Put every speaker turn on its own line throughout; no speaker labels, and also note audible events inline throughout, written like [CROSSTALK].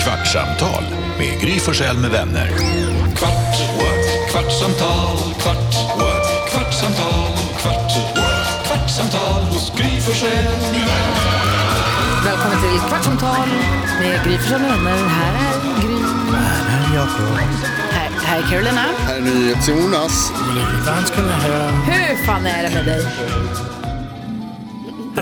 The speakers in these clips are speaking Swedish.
Kvartsamtal med Gry Forssell med vänner. Kvart, what? kvartsamtal, kvart, what? kvartsamtal, kvart, what? kvartsamtal hos Gry Forssell med vänner.
Välkommen till Kvartsamtal med Gry Forssell med vänner. Här är Gry. Här är Jakob. Här är Carolina.
Här är NyhetsJonas.
Hur fan är det med dig?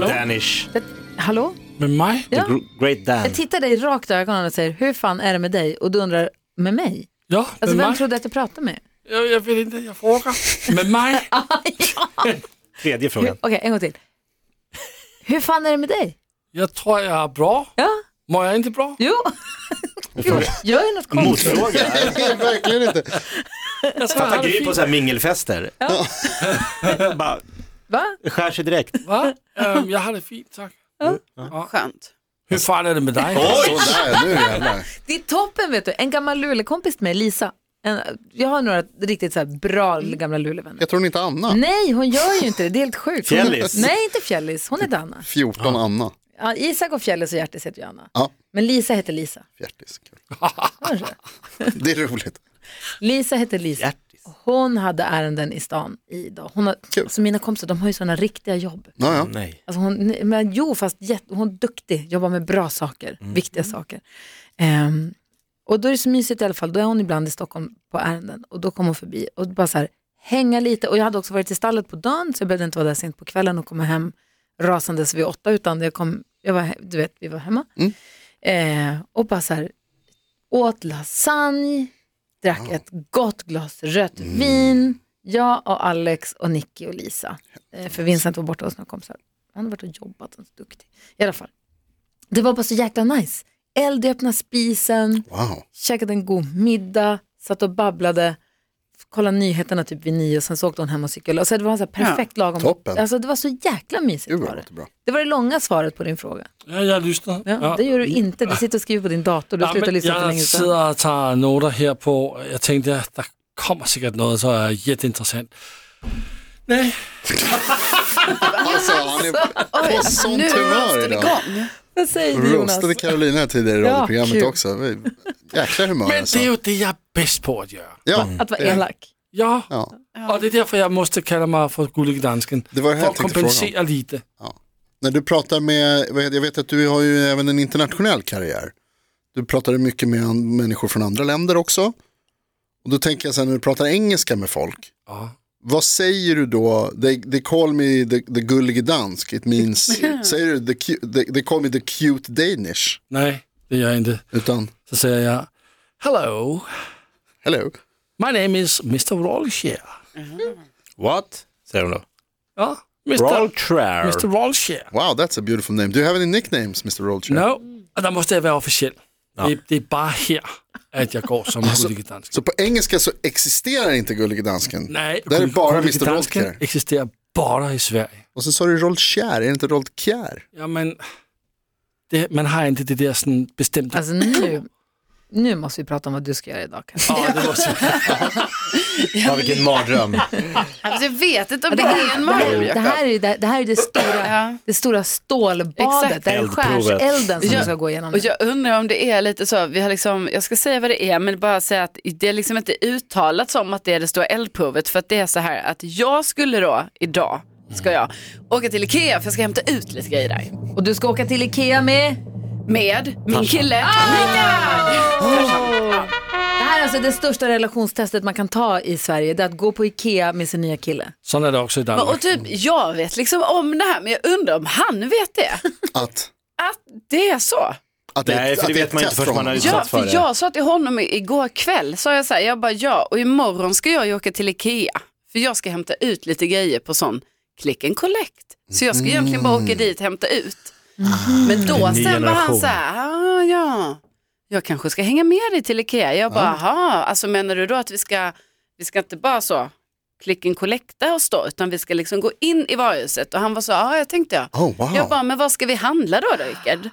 Danish.
Hallå?
Med mig?
Ja.
Gr- Great Dan.
Jag tittar dig rakt i ögonen och säger, hur fan är det med dig? Och du undrar, med mig?
Ja,
Alltså
med
vem
mig?
trodde att jag pratade med?
Jag, jag vet inte, jag frågar. Med mig?
Tredje
Hur-
frågan.
Okej, en gång till. Hur fan är det med dig?
Jag tror jag är bra.
Ja,
Mår jag inte bra?
jo. Gud, gör ju något konstigt.
Motfråga.
Nej, verkligen inte.
Jag tror jag
Fattar
har det
Gry på
fint.
så här mingelfester. [LAUGHS] Bara
Va?
skär sig direkt.
Va? Ehm, jag har det fint, tack.
Skönt.
Hur fan är det med dig?
Sådär, nu jävlar.
Det är toppen vet du. En gammal lulekompis till mig, Lisa. En, jag har några riktigt så här bra gamla lulevänner.
Jag tror inte Anna.
Nej, hon gör ju inte det. Det är helt sjukt.
Fjällis.
Hon, nej, inte Fjällis. Hon heter Anna.
14 Anna.
Ja, Isak och Fjällis och Hjärtis heter ju Anna.
Ja,
Men Lisa heter Lisa.
fjärtis. Kul.
Hörde du?
Det är roligt.
Lisa heter Lisa.
Hjärtis.
Hon hade ärenden i stan idag. Hon har,
Kul.
alltså mina kompisar, de har ju sådana riktiga jobb.
Ja, ja.
Nej.
Alltså hon, men jo, fast jätte, hon är duktig, jobbar med bra saker, viktiga saker. Ehm, och då är det så mysigt i alla fall, då är hon ibland i Stockholm på ärenden och då kom hon förbi och bara så här, hänga lite. Och jag hade också varit i stallet på dagen så jag behövde inte vara där sent på kvällen och komma hem rasandes vid åtta utan jag kom, jag var, he- du vet, vi var hemma. Eh, och bara så här, åt lasagne, drack ett gott glas rött vin, jag och Alex och Nicky och Lisa. Eh, för Vincent var borta hos några kompisar. Han har varit och jobbat, han är så duktig. I alla fall. Det var bara så jäkla nice. Eld i öppna spisen,
Wow.
käkade en god middag, satt och babblade, kollade nyheterna typ vid nio och sen så åkte hon hem och cyklade. Alltså det var så här perfekt lagom.
Toppen.
Alltså det var så jäkla mysigt
Gud,
var
vad
det.
låter bra.
Det var det långa svaret på din fråga.
Ja, jag lyssnar.
Ja, Det gör du inte, du sitter och skriver på din dator, du
Ja,
slutar
men
lyssna för
jag
länge sedan.
sitter och tar noter här på, jag tänkte att det kommer säkert något som är jätteintressant. Nej,
Alltså, han är på sånt humör idag.
Igång.
Vad säger du Jonas?
Roastade Carolina här tidigare i
Ja,
radioprogrammet
kul.
också. Jäkla humör
men
alltså.
det är ju det jag är bäst på att göra.
Ja,
Att vara
det-
elak.
Ja,
Ja.
och det är därför jag måste kalla mig för gulligdansken.
Det var det här
För
jag
att
tänkte fråga
kompensera lite.
När du pratar med, vad heter- jag vet att du har ju även en internationell karriär. Du pratade mycket med an- människor från andra länder också. Och då tänker jag sen när du pratar engelska med folk.
Ja.
Vad säger du då? They, they call me the, the gullige dansk. It means, säger du the, cu- they, they call me the cute danish.
Nej, det gör jag inte.
Utan,
Så säger jag, hello,
hello.
my name is Mr. Rolshare.
What? Säger hon då.
Ja, Mr.
Rollträr.
Mr. Rolshare.
Wow, that's a beautiful name. Do you have any nicknames, Mr. Rolcher?
No, och där måste jag vara officiell. Det, det är bara här att jag går
[LAUGHS]
som
Alltså-
gulligdansk.
Så på engelska så existerar inte gullige dansken.
Nej,
Där är bara Mr.
gulligdansken
Rolcher.
existerar bara i Sverige.
Och så sa du Rolcher, är det inte Rolkjär?
Ja, men det, man har inte det där sån bestämda...
Alltså nu, nu måste vi prata om vad du ska göra idag. kanske.
ja, det måste...
Ja, vilken mardröm.
Alltså, jag vet inte om
Det
det är en
här,
mardröm,
det, här
Jakob.
är, ju det, det här är det stora,
Ja.
det stora stålbadet,
Exakt.
det här är
Eldprovet.
skärselden som
Ja.
du ska gå igenom.
Och jag undrar om det är lite så, vi har liksom, jag ska säga vad det är, men bara säga att det är liksom inte uttalat som att det är det stora eldprovet, för att det är så här att jag skulle då, idag, ska jag åka till Ikea för jag ska hämta ut lite grejer där.
Och du ska åka till Ikea med?
Med min kille.
Det här är alltså det största relationstestet man kan ta i Sverige, det är att gå på Ikea med sin nya kille.
Sån är det också i Danmark.
Och typ, jag vet liksom om det här, men jag undrar om han vet det.
Att,
Att det är så.
att
Nej, för
att
det
är
vet
ett
man inte
test
förrän
från
man har
honom.
utsatt
Ja,
för
för
det.
jag sa till honom i- igår kväll, sa jag så här, jag bara ja, och imorgon ska jag ju åka till Ikea, för jag ska hämta ut lite grejer på sån click and collect. Så jag ska egentligen bara
Mm.
åka dit och hämta ut. Men då
ny
sen var han
generation.
så här, ah, ja, jag kanske ska hänga med dig till Ikea. Jag bara, aha, alltså menar du då att vi ska, vi ska inte bara så click and collecta oss då, utan vi ska liksom gå in i varuhuset. Och han var så, ja, jag tänkte jag.
Oh, wow.
Jag bara, men vad ska vi handla då, då Rickard?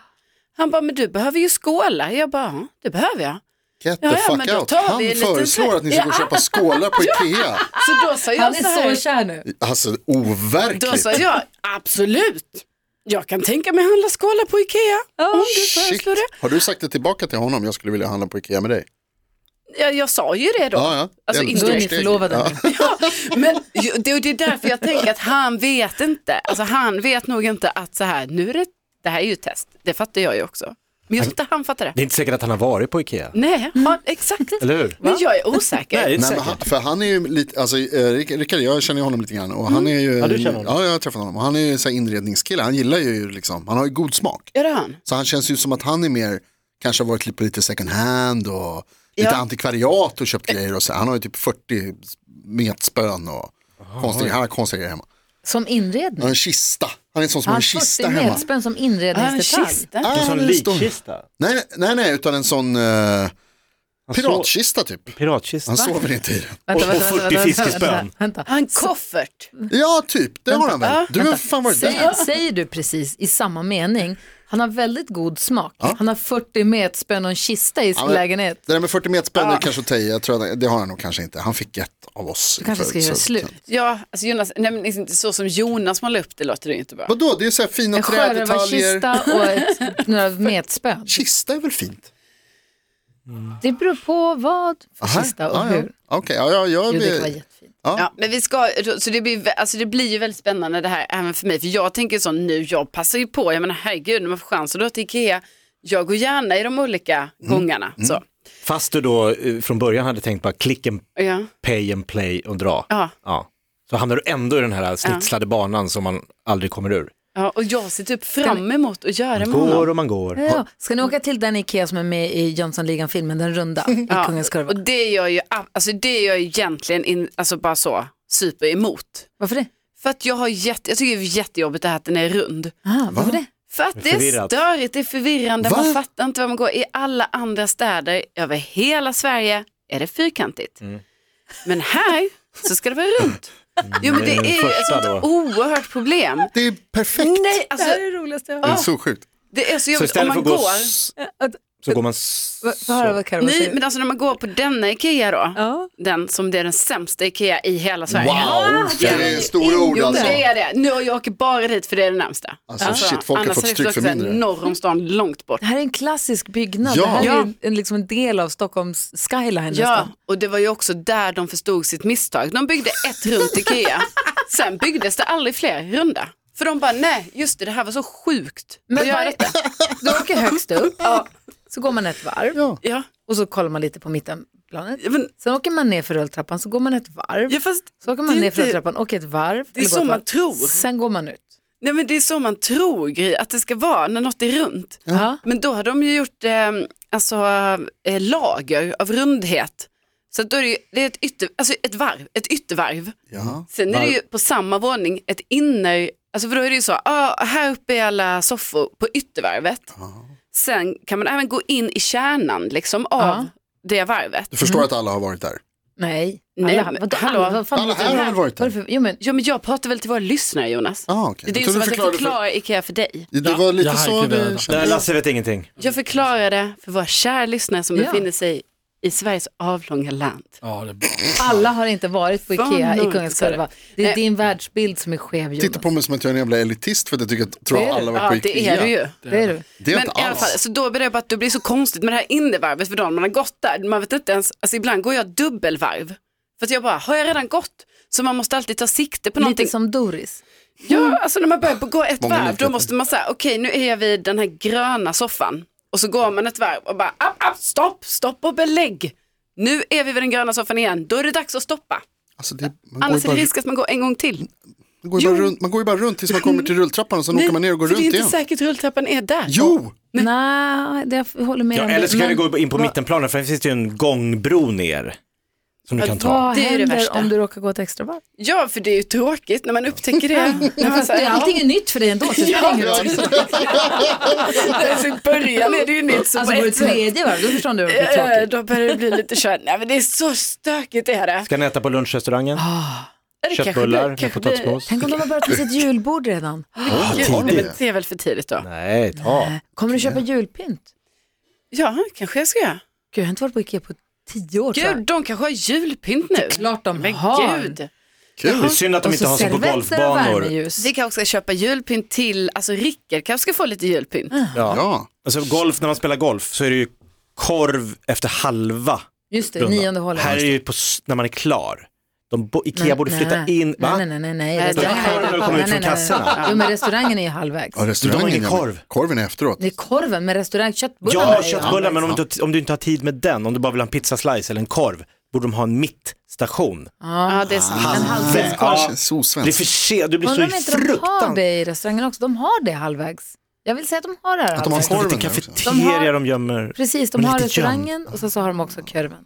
Han bara, men du behöver ju skålar. Jag bara, ja, det behöver jag.
Get the
Ja, ja, men
fuck
då
out.
tar vi
Han
en liten
föreslår
sväng.
att ni ska gå och
[LAUGHS] Ja.
köpa skålar på Ikea.
Så då sa
Han
jag så
är så
här,
kär nu.
Alltså
då
overkligt.
sa jag, absolut.
Jag kan tänka mig handla skålar på Ikea. om du
Shit.
föreslår det.
Har du sagt det tillbaka till honom? Jag skulle vilja handla på Ikea med dig.
Jag, jag sa ju det då.
Ja, ja.
Alltså,
Det är
inte-
Då är ni
Steg.
förlovade.
Ja.
nu.
Men ju- det, och det är därför jag tänker att han vet inte. Alltså han vet nog inte att så här, nu är det, det här är ju ett test. Det fattar jag ju också. Men just inte han fattar det.
Det är inte säkert att han har varit på Ikea.
Nej, han, exakt.
Eller hur?
Men jag är osäker.
Nej, det är inte
Nej, men
säkert.
han, för han är ju lite, alltså eh, Rick- Rickard, jag känner ju honom lite grann och
Mm.
han är ju,
Ja, du känner honom.
ja jag har träffat honom och han är ju så här inredningskille, han gillar ju liksom, han har ju god smak.
Är det han?
Så han känns ju som att han är mer, kanske har varit lite på lite second hand och lite
Ja.
antikvariat och köpt grejer och så. Han har ju typ 40 metspön och konstiga, han har konstiga grejer hemma.
Som
Han
inredning.
har en kista, han är en sån som
Han
har en
har
kista
40
hemma.
metspön som
Har han
inredningsdetalj.
kista?
Ah,
En sån
han är en stor-
likkista.
Nej, nej, nej, utan en sån eh,
Han sov-
piratkista typ.
Piratkista.
Han sover inte i den.
Vänta,
Och- och
vänta, vänta,
40
vänta,
fiskespön.
vänta, vänta.
Har han koffert?
Ja, typ, det har han väl. Du har fan varit där.
Säger, säger du precis i samma mening, han har väldigt god smak. Han har 40 metspön och en kista i sin
men-
lägenhet.
Det där med 40 meter spänn är kanske att ta i. jag tror att det har han nog kanske inte. Han fick ett av oss.
Du kanske
inför-
ska göra
så-
slut.
Ja, alltså Jonas, nej men liksom inte så som Jonas målar upp det låter det ju inte bra.
Vadå, det är så här fina
En
trädetaljer.
sjörövarkista och
[LAUGHS]
ett, några metspön.
Kista är väl fint?
Det beror på vad för
Aha.
kista och
Ja, ja.
hur.
Okej, ja, ja, jag
Jo, det
vill-
kan vara jättefint.
Ja, men vi ska, så det blir, alltså det blir ju väldigt spännande det här även för mig. För jag tänker så nu, jag passar ju på, jag menar herregud när man får chans att dra till Ikea, jag går gärna i de olika
Mm.
gångarna. Så.
Fast du då eh, från början hade tänkt bara klick and
Ja.
pay and play och dra.
Ja.
Så hamnar du ändå i den här snitslade banan som man aldrig kommer ur.
Ja, och jag ser typ fram emot att göra med
Går
honom.
och man går.
Ja, ska ni åka till den Ikea som är med i Jönssonligan-filmen, den runda,
[LAUGHS]
i
Ja,
Kungens Kurva?
och det är jag ju, alltså det är jag ju egentligen in, alltså bara så, super emot.
Varför det?
För att jag har jätte, jag tycker det är jättejobbigt det här att den är rund.
Aha, Ah, varför det?
För att
Det
det
är
är
förvirrat.
störigt, det är förvirrande,
Va?
man fattar inte var man går. I alla andra städer över hela Sverige är det fyrkantigt. Men här så ska det vara runt. Jo men det
Det är den
är ju ett
första
sånt
då.
oerhört problem.
Det är perfekt.
Nej, alltså
är det roligaste jag
Det är så sjukt.
det är så
Så
jobbigt. Om
istället för
man
att gå
går,
s-
att-
så går man s-
Få höra vad Carro
nej
säger.
men alltså när man går på denna Ikea då,
Ja.
den som det är den sämsta Ikea i hela Sverige.
Det är stora ord
Jo, men
alltså.
det är det. Nu, jag åker bara dit för det är det närmsta.
Alltså, shit, folk har fått
annars hade jag
stryk för
åkt så här
mindre.
Norr om stan, långt bort.
Det här är en klassisk byggnad,
Ja.
det här
Ja.
är en, liksom en del av Stockholms skyline
Ja,
nästan.
och det var ju också där de förstod sitt misstag. De byggde ett runt Ikea, sen byggdes det aldrig fler runda. För de bara, nej, just det, det här var så sjukt.
Men
att göra
vad-
detta.
Du åker högst upp, så går man ett varv
Ja,
och så kollar man lite på mittenplanet.
ja, men,
Sen åker man ner för rulltrappan, så går man ett varv.
ja, fast
Så åker
det
man
är
ner för
inte-
rulltrappan och ett varv.
det är
eller går
så
ett
man
varv.
tror.
Sen går man ut.
Nej, men det är så man tror Gry, att det ska vara när något är runt.
Ja.
Men då har de ju gjort eh, alltså, eh, lager av rundhet. Så att då är det, ju, det är ett, ytter, alltså ett, varv, ett yttervarv.
Ja.
Sen är det ju på samma våning ett inner, alltså för då är det ju så, ah, här uppe är alla soffor på yttervarvet. Sen kan man även gå in i kärnan liksom av
Ja.
det varvet.
Du förstår att alla har varit där.
Nej.
Nej,
alla,
men
vadå,
hallå?
alla, vad fan,
Alla
vad-
här har väl varit
vad är
där.
det för, jo, men,
Ja men jag pratar väl till våra lyssnare Jonas.
Ah, okay.
Det är ju som att jag förklarar Ikea för dig.
Det var lite
Jag har
så
inte
vi
varit
Nej,
kände.
Lasse vet ingenting.
Jag förklarar det för våra kära lyssnare som
Ja.
befinner sig i Sveriges avlånga land.
Ja, det är bra.
alla har inte varit på
Fan,
Ikea i
lugnt,
Kungens
så är det.
Kurva. Det är
Nej.
din världsbild som är skev
Titta
Jonas.
på mig som att jag är en jävla elitist för att jag tycker att tror
Det är
att alla har
Ja,
varit på
det är
Ikea.
du ju.
Det är du.
Det är
Men
inte
i alla fall,
alls.
så då börjar jag på att det blir så konstigt med det här innervarvet för dagen man har gått där. Man vet inte ens, alltså ibland går jag dubbelvarv. För att jag bara, har jag redan gått? Så man måste alltid ta sikte på någonting.
Lite som Mm. Doris.
Ja, alltså när man börjar på- gå ett
Många
varv
likheter.
då måste man säga, okej nu är jag vid den här gröna soffan. Och så går man ett varv och bara, app, app, stopp, stopp och belägg. Nu är vi vid den gröna soffan igen, då är det dags att stoppa.
Alltså, det, man, går
Annars
ju
är det
bara,
risk att man går en gång till.
man, går ju bara runt, man går ju bara runt tills man kommer till rulltrappan och sen åker man ner och går
för
runt
det är
igen.
inte säkert rulltrappan är där.
Jo!
Nej, det, jag håller med
Ja,
om det.
eller så kan
Men
du gå in på
vad-
mittenplanen för det finns ju en gångbro ner. Som du kan ta.
Vad
Det är det
händer
värsta.
om du råkar gå ett extra varv?
Ja, för det är ju tråkigt när man
[LAUGHS]
upptäcker det. när man
Fast
säger,
det,
"Ja."
allting är nytt för dig ändå. Så det spelar ingen roll.
[LAUGHS] Alltså, I början är det ju nytt. Så
Alltså
på
på det
ett sätt,
tredje varvet, då förstår du att det blir
eh,
tråkigt.
då börjar det bli lite kört. Nej men det är så stökigt är det.
Ska ni äta på lunchrestaurangen?
Är det kanske
Köttbullar
blir-
med
kanske blir-
potatismos?
Tänk om de har börjat med sitt julbord redan.
Gud,
Har
nej,
det?
men det är väl för tidigt då.
Nej, ta.
Kommer du köpa julpynt?
Ja, kanske jag ska göra.
Gud, jag har inte varit på Ikea på tio år tror
Gud,
jag.
de kanske har julpynt nu.
Klart de
Men
har.
gud.
Det är synd att de
Och
inte har så på
servetter och
golfbanor.
värmeljus.
Vi kanske ska köpa julpynt till, alltså Rickard kanske ska få lite julpynt.
Ja.
Ja,
Alltså golf, när man spelar golf så är det ju korv efter halva
Just det,
rundan.
nionde hålet.
Här är det ju på, s- när man är klar. De bo, Ikea
Nej,
borde
nej.
flytta in, va?
Nej, nej, nej, nej.
Nej,
Restaurangen
det är korven
är
när
de kommer ut
Nej,
från
nej, nej.
kassorna.
Jo, men restaurangen är ju halvvägs.
ja restaurangen.
De har ingen
ja,
korv.
men Korven är efteråt.
Det är korven, men restaurang, köttbullarna
Ja,
är ju
köttbullar, men
halvvägs.
om du, inte- om du inte har tid med den, om du bara vill ha en pizzaslice eller en korv, borde de ha en mittstation.
Ja, det är sant.
En halvvägs korv.
Ja. Känns
Det är för
osvenskt.
sent, du blir
Undrar om
så
inte de har
fruktansvärt...
det i restaurangen också. De har det halvvägs. Jag vill säga att de har det här
Att de har
halvvägs.
korv.
Lite
korven där också.
kafeteria de gömmer.
Precis, de
Men
har
lite Ah.
restaurangen och så, så har de också korven.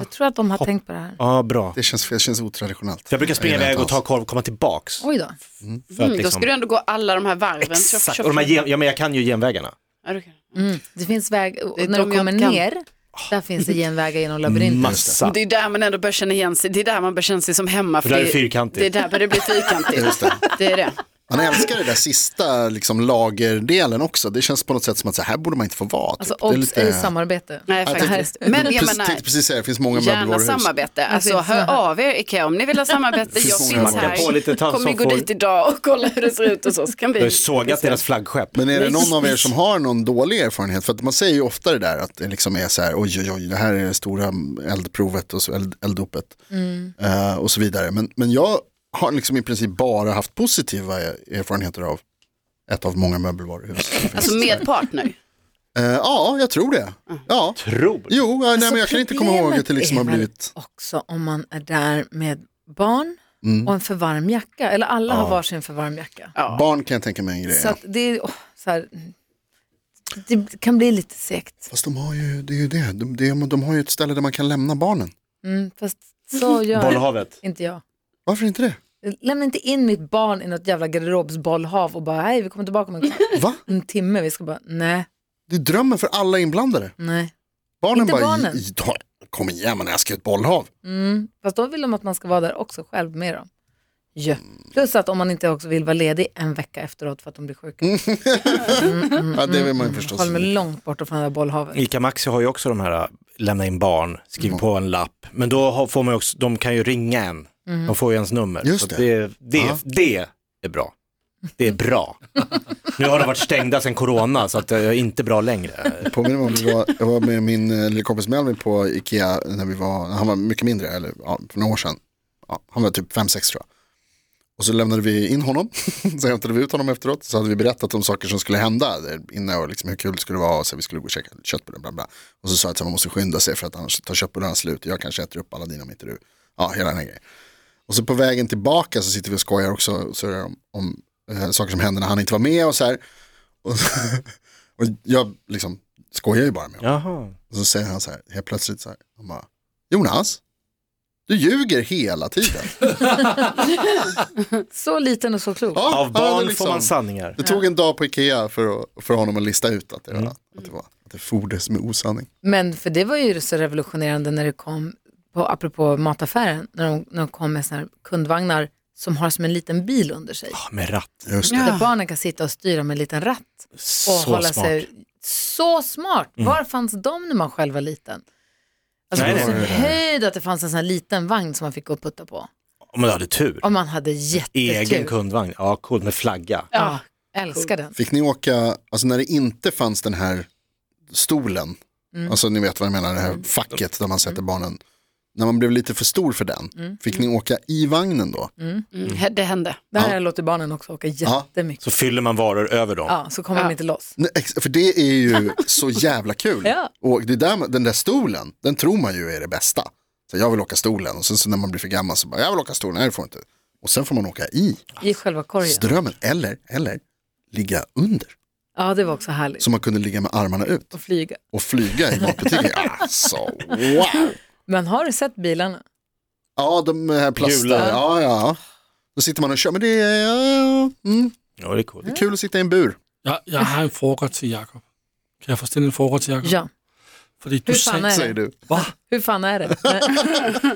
Jag tror att de har tänkt på det här.
Ja, bra.
Det känns, fel, det känns otraditionellt.
För jag brukar springa
gillar
iväg
inte
och ta
alls.
korv och komma tillbaks.
Oj då.
För att
Mm, då
liksom...
ska du ändå gå alla de här varven. Köp,
Exakt,
köp,
och de här
köp.
gen... ja, men jag kan ju genvägarna.
Ja, du kan.
Mm. Det finns väg, och
Det är
när
de
du
jag
kommer
kan.
ner, där finns det genvägar genom labyrinten.
Massa.
Det är där man ändå börjar känna igen sig, det är där man börjar känna sig som hemma.
där är
det-
fyrkantigt.
Det är där börjar det bli
[LAUGHS]
fyrkantigt.
Just det.
Det är det.
Man älskar det där sista liksom, lagerdelen också. Det känns på något sätt som att så här borde man inte få vara. Typ.
Alltså
det
obs, är det samarbete.
Nej,
jag tänkte,
faktiskt.
men,
Men jag
precis,
menar,
tänkte precis säga, det finns många
gärna
möbelvaruhus.
samarbete. Alltså
finns
hör
så här.
av er Ikea om ni vill ha samarbete. Jag
finns
finns
många.
här.
På lite tand
Kommer
som
gå
får-
dit idag och kolla hur det ser ut och så. så kan
Jag har
vi...
ju sågat deras flaggskepp.
Men är det någon av er som har någon dålig erfarenhet? För att man säger ju ofta det där att det liksom är så här, oj oj oj, det här är det stora eldprovet och så, eld, elddopet. Eh, och så vidare. Men, men jag har liksom i princip bara haft positiva erfarenheter av ett av många möbelvaruhus.
Alltså med partner.
Eh, ja, jag tror det. Ja.
Tror.
Jo, eh, nej, men jag
Alltså,
kan inte komma ihåg att det
problemet
liksom har
är väl
blivit...
också om man är där med barn
Mm.
och en för varm jacka. Eller alla har varsin för varm jacka.
Barn kan jag tänka mig en grej.
Så att det, är- åh, så här, det kan bli lite segt.
Fast de har ju, det är ju det. De, de, de har ju ett ställe där man kan lämna barnen.
Mm, fast så gör
Bollhavet.
inte jag.
Varför inte det?
Lämna inte in mitt barn i något jävla garderobsbollhav och bara hej vi kommer tillbaka om en,
Va?
en timme. Vi ska bara nej,
Det är drömmen för alla inblandade.
nej.
Barnen
Inte
bara,
barnen.
"J- ta- kom igen, man älskar ju ett bollhav.
Mm. Fast då vill de att man ska vara där också själv med dem. Ja. Plus att om man inte också vill vara ledig en vecka efteråt för att de blir sjuka.
Mm.
ja, det
Mm,
vill man ju förstås.
Håll mig långt bort från det där bollhavet.
Ica Maxi har ju också de här, äh, lämna in barn, skriv
Mm.
på en lapp. Men då har- får man ju också, de kan ju ringa en. De får ju ens nummer.
Just
Så
det.
Det, det,
Ja.
det är bra. Det är bra. nu har de varit stängda sedan corona så att det är inte bra längre.
Jag eh, påminner mig om det var, jag var med min eh, lilla kompis Melvin på Ikea när vi var, han var mycket mindre, eller ja, för några år sedan. Ja, han var typ 5-6 tror jag. Och så lämnade vi in honom, [LAUGHS] så hämtade vi ut honom efteråt, så hade vi berättat om saker som skulle hända där inne och liksom hur kul det skulle vara, och så vi skulle gå och käka köttbullar, bla bla. Och så sa jag att man måste skynda sig för att annars tar köttbullarna slut, jag kanske äter upp alla dina om inte du, ja hela den här grejen. Och så på vägen tillbaka så sitter vi och skojar också och surrar om, om eh, saker som hände när han inte var med och så här. Och, [LAUGHS] och jag liksom skojar ju bara med honom.
Jaha.
Och så säger han så här, helt plötsligt så här, han bara, Jonas, du ljuger hela
[LAUGHS]
tiden.
Så liten och så klok.
Ja, han
Av
hade
barn
liksom-
får man sanningar.
Det tog en dag på Ikea för, att, för honom att lista ut att det,
Mm.
var, att det, var, att det fordes med osanning.
Men för det var ju så revolutionerande när det kom, på, apropå mataffären, när de, när de kom med såna här kundvagnar som har som en liten bil under sig.
Ja, Med ratt.
Just det.
Där barnen kan sitta och styra med en liten ratt. Och
Så
hålla
smart. Mm.
sig Så smart! Var fanns de när man själv var liten? Alltså
Nej,
det var
nej.
en höjd att det fanns en sån här liten vagn som man fick gå och putta på.
Om du hade tur.
Om man hade
Egen
jättetur.
kundvagn, ja coolt med flagga.
Ja, älskar den.
Fick ni åka, alltså när det inte fanns den här stolen, alltså ni vet vad jag menar, det här facket där man sätter barnen, när man blev lite för stor för den, fick ni åka i vagnen då?
Mm, det hände.
Där har jag låtit barnen också åka jättemycket.
Så fyller man varor över dem.
Ja, så kommer de inte loss.
Nej, ex- För det är
[LAUGHS]
ju så jävla kul.
Ja.
Och det där, den där stolen, den tror man ju är det bästa. Så jag vill åka stolen och sen så när man blir för gammal så bara, jag vill åka stolen, nej det får jag inte. Och sen får man åka i
I själva korgen.
strömmen, eller, eller ligga under.
Ja, det var också härligt.
Så man kunde ligga med armarna ut
Att flyga.
och flyga
[LAUGHS]
i matbutiken. Alltså, wow!
Men har du sett bilarna?
Ja, de här plasterna,
Hjular.
ja, ja. Då sitter man och kör, men det är, ja, ja, ja. mm,
Ja, det är coolt.
det är kul att sitta i en bur.
Jeg, jeg har en fråga til Jakob. Kan jeg få stille en fråga til Jakob?
Ja.
Fordi du
Hur
sagde,
fan är
Säger
det?
du.
Hur fan är det?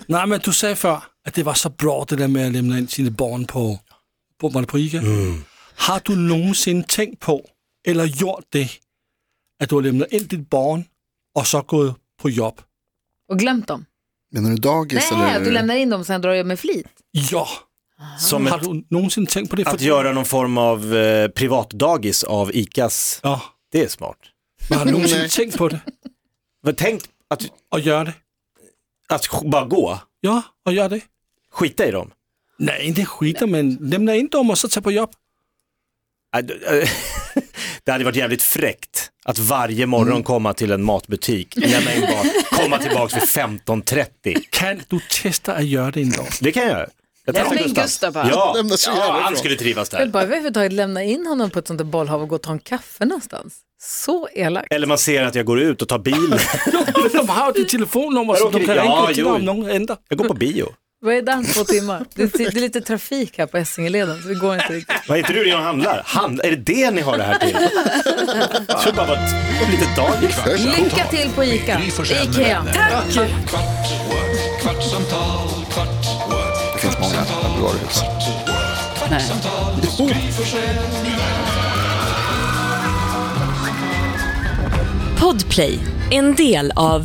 nej, men du sagde før, at det var så bra det der med at læmne ind sine barn på, på, var det på Ica. Har du nogensinde tænkt på, eller gjort det, at du har læmnet ind dit barn, og så gået på job?
Och glömt dem?
Menar du dagis
Nej,
eller?
du lämnar in dem och sen drar jag med flit.
Ja,
Som
Har
ett,
du någonsin tänkt på det?
att göra någon form av eh, privatdagis av ICAs,
Ja,
det är smart.
men har du någonsin
Nej.
tänkt på det?
Men tänk att,
Och gör det?
att sk- bara gå,
Ja, och gör det.
skita i dem.
Nej, inte skita, men lämna in dem och så ta på jobb.
Äh, d- äh, [LAUGHS] Det hade varit jävligt fräckt att varje morgon
Mm.
komma till en matbutik, lämna in barn, komma tillbaka vid 15.30.
Kan du testa att göra det en dag?
Det kan jag göra. Jag
Lämna
testar
in Gustav här.
Ja,
Lämna så jävla
ja han
ifrån.
skulle trivas
Jag vill
där.
bara överhuvudtaget lämna in honom på ett sånt där bollhav och gå och ta en kaffe någonstans. Så elakt.
Eller man ser att jag går ut och
[LAUGHS]
tar bilen.
De har ju ditt telefonnummer
Här
så de
åker-
kan
Ja,
ringa till
jo.
om någon ändrar.
Jag går på bio.
Vad är det om två timmar? Det, det är lite trafik här på Essingeleden så det går inte riktigt.
Vad heter du när och handlar? Hand, är det det ni har det
[LAUGHS]
här till? Jag tror bara att det var lite dagis. va?
Lycka till på ICA.
Gry Forssell med
IKEA.
vänner. Kvart, what? kvartsamtal, kvart, what?
Det finns många
Kvartsamtal,
varuhus.
kvart, what? Kvartsamtal hos
Oh!
Gry Forssell med vänner.
Podplay, en del av